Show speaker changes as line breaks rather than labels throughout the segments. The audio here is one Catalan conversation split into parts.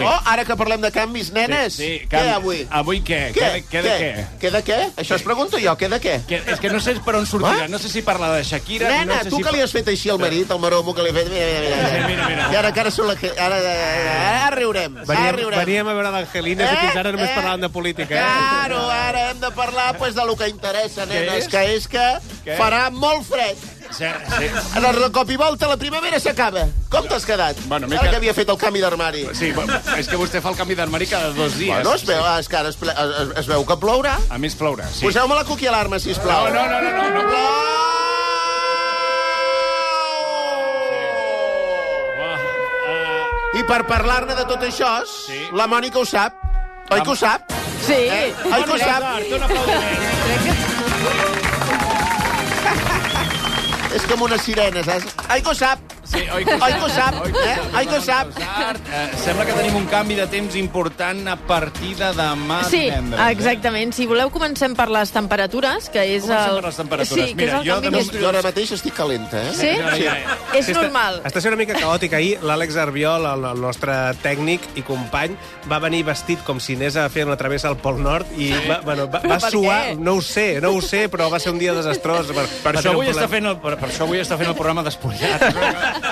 Oh, ara que parlem de canvis, nenes,
Sí, sí,
què
canvi-
avui?
Avui què? Què, què, de què?
Què de què? Això es pregunto jo, què de què?
Que, és que no sé per on sortirà.
Ah?
No sé si parla de Shakira...
Nena,
no sé
tu
si
que li has fet així al marit, al maromo que li has fet... Mira, mira, mira.
Sí, mira, mira.
I ara, que ara, surt la... que- ara, ara, ara riurem, ara
Veníem,
riurem.
veníem a veure l'Angelina, eh? que fins ara només eh? parlàvem de política. Eh?
Claro, ara hem de parlar pues, de lo que interessa, nenes,
és?
que és que
Què?
farà molt fred.
Sí, sí.
Ara, de cop i volta, la primavera s'acaba. Com t'has quedat?
Bueno, m'he
ara
quedat-
que havia fet el canvi d'armari.
Sí, bo- és que vostè fa el canvi d'armari cada dos dies.
Bueno, es veu, és que ara es, ple- es, es- es veu que plourà.
A més, plourà,
Sí.
sí. Oh,
Poseu-me la cuqui alarma, sisplau.
No, no, no, no, no, no.
Plou! I per parlar-ne de tot això, sí.
Sí.
la Mònica ho sap. Oi que ho sap?
Sí.
Eh?
Oh,
Oi que ho sap?
Un aplaudiment.
És com una sirena, saps? Oi que ho sap?
Sí, oi
Oi que ho sap, eh? Oi que ho sap.
Eh, sembla que tenim un canvi de temps important a partir de demà
Sí,
divendres. eh?
eh?
exactament. Si voleu, comencem per les temperatures, que és
Comencem
el...
per les temperatures.
Sí, que
Mira,
és el
jo
canvi
de
més
moment-
Jo
brusc.
ara mateix estic calenta, eh?
Sí?
Ja, ja, ja.
És normal.
Està sent una mica caòtic. Ahir l'Àlex Arbiol, el, el nostre tècnic i company, va venir vestit com si anés a fer una travessa al Pol Nord i va, bueno, va, va
Però per
suar,
què?
no ho sé, no ho sé, però va ser un dia desastrós. Per,
Per
va
això,
tenir un
avui està
problema.
fent el, per, per això avui està fent el programa despullat. No,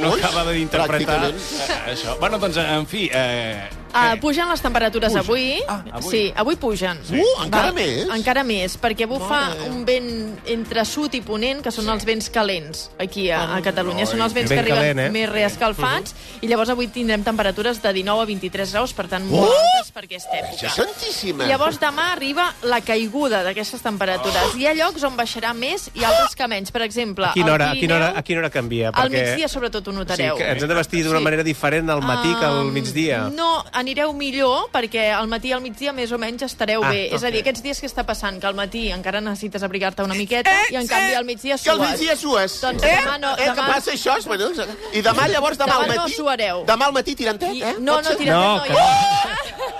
no
Ui,
acaba d'interpretar
pràcticament.
eh, això. Bueno, doncs, en fi... Eh, eh,
Uh, pugen les temperatures
Puja.
avui.
Ah, avui.
Sí, avui pugen.
Uh, encara
Val?
més?
Encara més, perquè bufa
Mare.
un vent entre sud i ponent, que són els vents calents aquí a, a Catalunya. Són els vents
Ben
que arriben
calent, eh?
més reescalfats, i llavors avui tindrem temperatures de 19 a 23 graus, per tant, molt
Oh!
altes per aquesta
Ja
època.
santíssima.
Llavors demà arriba la caiguda d'aquestes temperatures. Hi ha llocs on baixarà més i altres que menys. Per exemple,
Oh. A quina hora,
al
a quina hora,
Pirineu,
a quina hora canvia?
al migdia sobretot ho
o sigui,
notareu.
que ens hem de vestir d'una
Sí.
manera diferent al matí que al
Um,
migdia.
No, anireu millor, perquè al matí i al migdia més o menys estareu
Ah,
bé. És a
ok. Eh,
dir, aquests dies que està passant, que al matí encara necessites abrigar-te una miqueta i en canvi al migdia
Que
sues.
al migdia sues.
Doncs
eh?
demà no-
eh,
demà-
que passa això? Bueno, I demà, llavors, demà,
Demà
al
no
matí...
suareu.
Demà al matí tirantet,
I,
eh?
no, no,
Potser?
tirantet no.
No,
no,
que-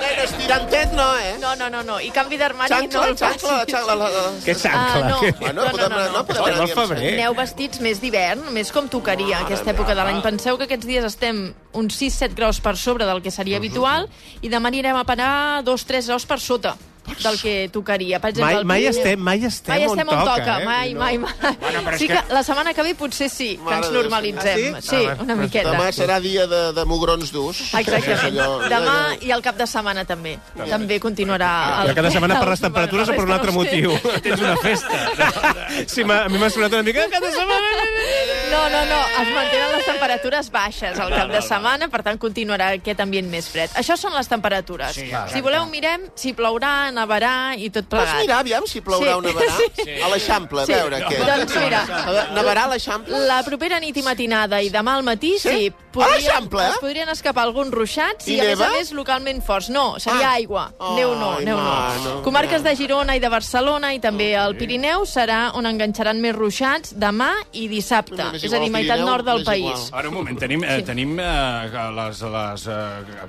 Nenes, tirantet no, eh?
no, no, no, no. I canvi d'armari Ah, no
Xancla,
el facis.
xancla, xancla... la- la- la-
Què
Ah,
s'ancla?
no.
Què-
Ah, no,
No, no,
podem,
no, no.
no, podem
Estem
anar
al
dient-
febrer.
Aneu vestits més d'hivern, més com tocaria aquesta època de l'any. Penseu que aquests dies estem uns 6-7 graus per sobre del que seria habitual i demà anirem a parar 2-3 graus per sota del que tocaria. Per exemple,
Mai,
al
mai,
Pirineu-
estem, mai estem
Mai
on
estem on
toca.
toca,
eh?
mai,
No.
mai, mai.
Bueno, però és
sí que...
que-
la setmana que ve potser sí, que
Mare
ens
de Déu,
normalitzem.
ah, sí?
sí?
Ah, va.
una miqueta.
Demà serà dia de, de mugrons durs.
Exactament.
Allò-
Demà
allò-
i el cap de setmana també. També continuarà...
Però cada setmana per les temperatures o per un altre
No ho sé.
motiu?
Tens una festa.
Sí, m'ha- a mi m'ha sonat una mica cada setmana.
No, no, no, es mantenen les temperatures baixes al cap de setmana, per tant continuarà aquest ambient més fred. Això són les temperatures.
Sí, exacte.
si voleu mirem si plourà, nevarà i tot
Pots
plegat.
mirar, aviam, si plourà
Sí.
o nevarà?
Sí.
A l'Eixample, a
Sí,
veure què.
doncs mira.
A veure, Nevarà a l'Eixample?
La propera nit i matinada i demà al matí, sí,
Sí? A l'Eixample, eh?
es podrien escapar alguns ruixats i,
I
a més a
neva?
més, localment forts. No, seria
Ah.
aigua.
Ai,
Neu no, neu no.
mano,
Comarques
mano.
de Girona i de Barcelona i també al Pirineu serà on enganxaran més ruixats demà i dissabte.
M'és
És a
Doncs igual,
dir, meitat
Pirineu,
nord del
m'és
país.
Ara, un moment, tenim, eh, tenim eh, les, les eh,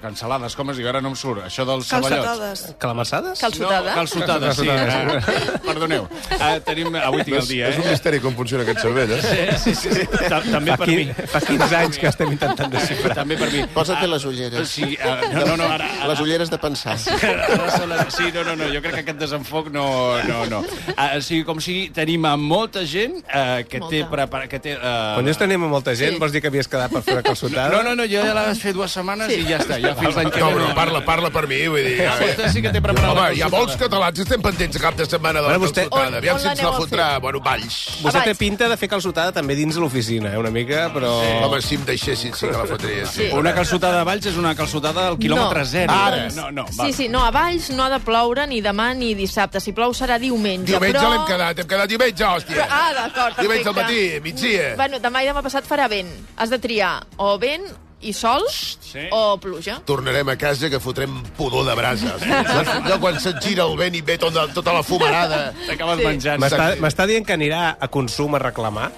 cancel·lades, com es diu? Ara no em surt. Això dels saballots.
Calçotades.
Calamassades?
Calçotada.
No, calçotades, sí. Eh, perdoneu. Eh, tenim, avui tinc el
És,
dia,
és un
eh?
misteri com funciona aquest cervell, eh?
Sí, sí, sí. Ta- També
Fa,
per mi.
quin, fa 15 anys que estem intentant desxifrar.
També per mi.
Posa't les ulleres.
Sí, eh, no, no, no, ara, ara,
Les ulleres de pensar.
Ara se la- Sí, no, no, no, jo crec que aquest desenfoc no... no, no. Ah, o sigui, com sigui, tenim a molta gent eh, que, té
Molta.
prepara, que té... Eh,
Quan jo tenim a molta gent,
Sí.
vols dir que havies quedat per fer una calçotada?
No, no, no, jo ja la vaig fer dues setmanes
Sí.
i ja està, ja fins l'any que
No, però parla, parla per mi, vull dir... a veure.
Vostè sí que té preparat
Home,
la
hi ha molts catalans que estem pendents a cap de setmana de la
Bueno, vostè-
On-
calçotada. Aviam
on
si ens la
l'aneu a
fotrà, bueno, valls.
Vostè té
Abans.
pinta de fer calçotada també dins l'oficina, eh, una mica, però...
Home, si em deixessin, sí que la fotria. Sí.
Una calçotada a Valls és una calçotada al quilòmetre
No.
zero. Eh,
Ara.
No, no, va.
Sí, sí, no, a Valls no ha de ploure ni demà ni dissabte. Si plou serà diumenge,
Diumenge
però...
l'hem quedat, hem quedat diumenge, hòstia.
Ah, d'acord, perfecte.
Diumenge al matí, migdia.
Bueno, demà i demà passat farà vent. Has de triar o vent i sol
Sí.
o pluja.
Tornarem a casa que fotrem pudor de brasa. Allò quan se't gira el vent i ve tota, tota la fumarada.
T'acabes
Sí.
menjant.
M'està m'està dient que anirà a consum a reclamar?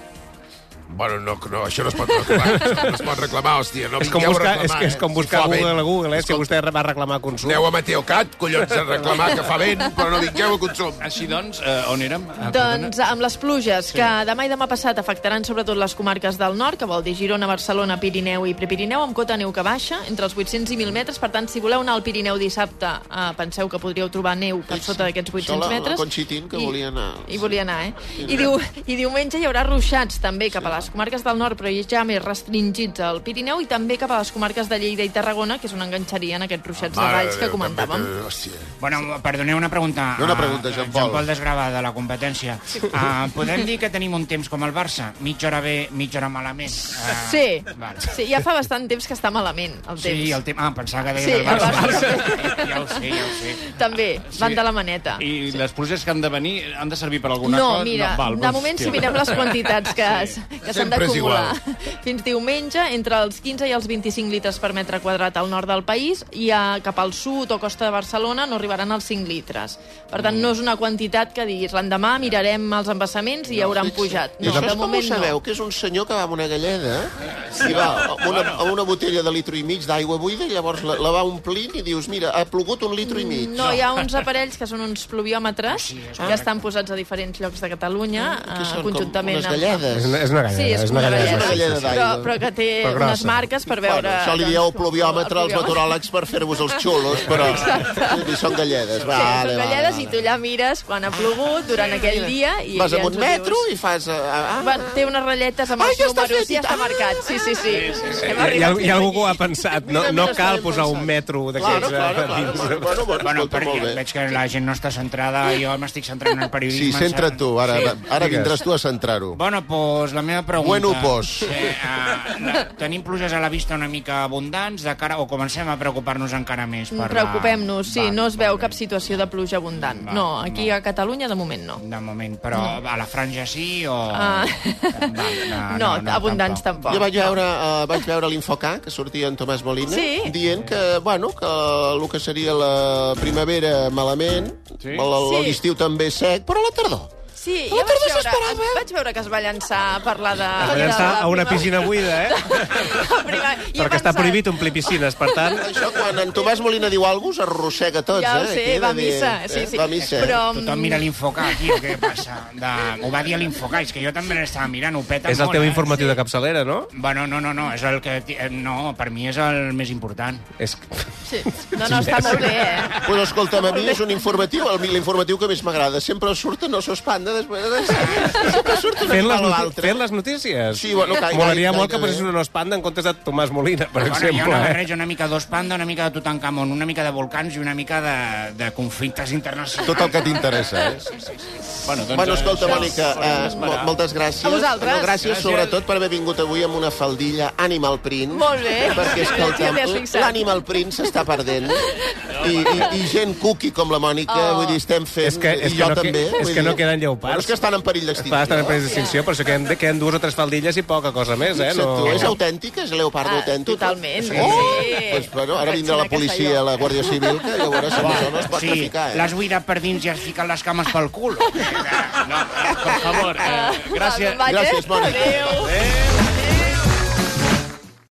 Bueno, no, no, això no es pot reclamar. No es pot reclamar, hòstia. No
És com
vingueu a
buscar, és,
reclamar,
que és com
eh?
buscar
Fa vent.
Google a Google, eh? Si
Escolta,
vostè va reclamar a consum.
Aneu a Meteocat, collons, a reclamar que fa vent, però no vingueu a consum.
Així doncs, eh, on érem? Ah, perdona.
Doncs amb les pluges, que demà i demà passat afectaran sobretot les comarques del nord, que vol dir Girona, Barcelona, Pirineu i Prepirineu, amb cota neu que baixa, entre els 800 i 1.000 metres. Per tant, si voleu anar al Pirineu dissabte, eh, penseu que podríeu trobar neu per sota d'aquests
Això
800
la- la
metres.
Conchitín, que
I-
volia anar.
I volia anar, eh? I, diu, I diumenge hi haurà ruixats també cap a les comarques del nord, però ja més restringits al Pirineu i també cap a les comarques de Lleida i Tarragona, que és on enganxarien aquests ruixats
Ah,
de valls que comentàvem.
també, eh, Hòstia.
Bueno, perdoneu una pregunta.
No, una
a-
pregunta,
a
Jean-Paul.
Jean-Paul Desgrava, de la competència. Uh, podem dir que tenim un temps com el Barça? Mitja hora bé, mitja hora malament. Uh,
Sí,
Vale.
sí, ja fa bastant temps que està malament el temps.
Sí, el temps... Ah, pensava que deia
Sí,
del Barça.
el
Barça. Ja ho sé, ja ho sé.
També, van de la maneta.
I les pluges que han de venir han de servir per alguna cosa?
No, mira,
val, doncs,
de moment si
hòstia.
mirem les quantitats que s- que s'han
Sempre és
d'acumular. Fins diumenge, entre els 15 i els 25 litres per metre quadrat al nord del país i a, cap al sud o costa de Barcelona no arribaran als 5 litres. Per tant, no és una quantitat que diguis l'endemà mirarem els embassaments i hauran pujat.
I
No,
això
de
és com ho
moment
sabeu,
no.
que és un senyor que va amb una galleda eh? i va amb una, amb una botella de litro i mig d'aigua buida i llavors la, la va omplint i dius, mira, ha plogut un litro i mig.
No, hi ha uns aparells que són uns pluviòmetres que estan posats a diferents llocs de Catalunya,
Ah, que
eh,
són
conjuntament
com unes
amb-
És
galledes.
una, és una galleda.
Sí, és,
una galleda.
És una galleda
però,
d'aigua.
però que té
Però grossa.
unes marques per veure...
bueno, això li
doncs,
dieu
com-
pluviòmetre als
pluviòmetre.
meteoròlegs per fer-vos els xulos, però i són galledes.
Sí,
Vale,
són
vale,
galledes
vale.
i tu allà mires quan ha plogut durant aquell dia i
Vas
i
amb
ens
un
ho
metro
dius.
i fas... Ah, ah,
Va, té unes ratlletes amb
Ai,
els
ja està
números
fet,
i ja està
ah!
marcat. Sí, sí, sí. Hem
Hi, ha,
arribat
hi ha algú
fins
que ho ha
aquí.
pensat. No,
Mira,
no
mira,
cal
estàvem
posar un
pensant.
metro
Claro,
d'aquests
claro,
eh,
claro.
dins.
Bueno, bueno,
Bueno,
escolta,
perquè
molt bé.
veig que la gent no està centrada, jo m'estic centrant en el periodisme.
Sí, centra't tu, ara,
Sí.
ara
Digues.
vindràs tu a centrar-ho.
Bueno, pues la meva pregunta...
Bueno, pues.
Eh, eh, la- tenim pluges a la vista una mica abundants, de cara, o comencem a preocupar-nos encara més? Per la-
Preocupem-nos, sí,
Val,
no es veu
molt bé.
cap situació de pluja abundant.
Va,
No, aquí
va.
a Catalunya de moment no.
De moment, però a la franja sí o...
Ah. No, abundants tampoc.
Jo vaig veure, uh, vaig veure l'Infocà, que sortia en Tomàs Molina,
Sí.
dient que, bueno, que el que seria la primavera malament, sí.
Sí.
l'estiu també sec, però a la tardor.
Sí,
A la
jo vaig
tarda
veure,
s'esperava.
vaig veure que es va llançar a parlar de...
Es va llançar
de la
a una
prima-
piscina buida, eh?
la prima- i he
Perquè està
pensat,
prohibit omplir piscines, per tant...
Això, quan en Tomàs Molina diu alguna cosa, s'arrossega tots,
Ja ho
eh?
sé,
Aquí de
va a missa, sí, sí.
Va a missa.
Però,
Tothom mira l'infocar aquí, o què passa? De... Ho va dir a l'infocar, és que jo també l'estava mirant, ho peta
És el
molt,
teu
eh?
informatiu de capçalera, no?
Bueno, no, no, no, és el que... ti- eh, No, per mi és el més important.
És...
mm, Sí. No, no, està molt bé, eh?
Però escolta'm, a mi és un informatiu, el- l'informatiu que més m'agrada. Sempre surten, no s'espanda, després... Sempre surt una
Fent les,
mica a
noti
l'altra.
fent les notícies?
Sí, bueno, gai-
Molaria
gai-
molt que
gairebé.
posessin un ospanda en comptes de Tomàs Molina, per
Bueno, jo
exemple.
no
eh?
barrejo una mica d'Ospanda, una mica de Tutankamon, una mica de volcans i una mica de, de conflictes internacionals.
Tot el que t'interessa, eh?
Bueno, doncs,
Bueno, escolta,
eh,
Mònica,
hauríem
eh,
d'esperar.
mo- moltes gràcies.
A vosaltres.
No, gràcies, sobretot, per haver vingut avui amb una faldilla Animal Print.
Molt
Perquè,
bé. Ja t'hi has
escolta,
fixat.
l'Animal Print s'està perdent. I, i, I gent cookie com la Mònica,
Oh.
vull dir, estem fent...
És que- és
I
que
jo
no que-
també.
és
vull
que no
dir.
queden lleopards.
Bueno, és que estan en perill d'extinció.
Està en perill d'extinció, per això queden, queden dues o tres faldilles i poca cosa més, eh?
Fixa't tu, És autèntic? És leopardo
Ah,
autèntic?
totalment,
Oh!
sí.
Pues, bueno, ara vindrà la
Pensava que
policia,
feia.
la Guàrdia Civil, que llavors amb això no es pot
sí,
traficar, eh?
l'has buidat per dins i has ficat les cames pel cul.
No, eh, per favor, eh, gràcies.
Ah,
Va, me'n vaig, eh?
Gràcies, Mònica.
Adéu.
Adéu.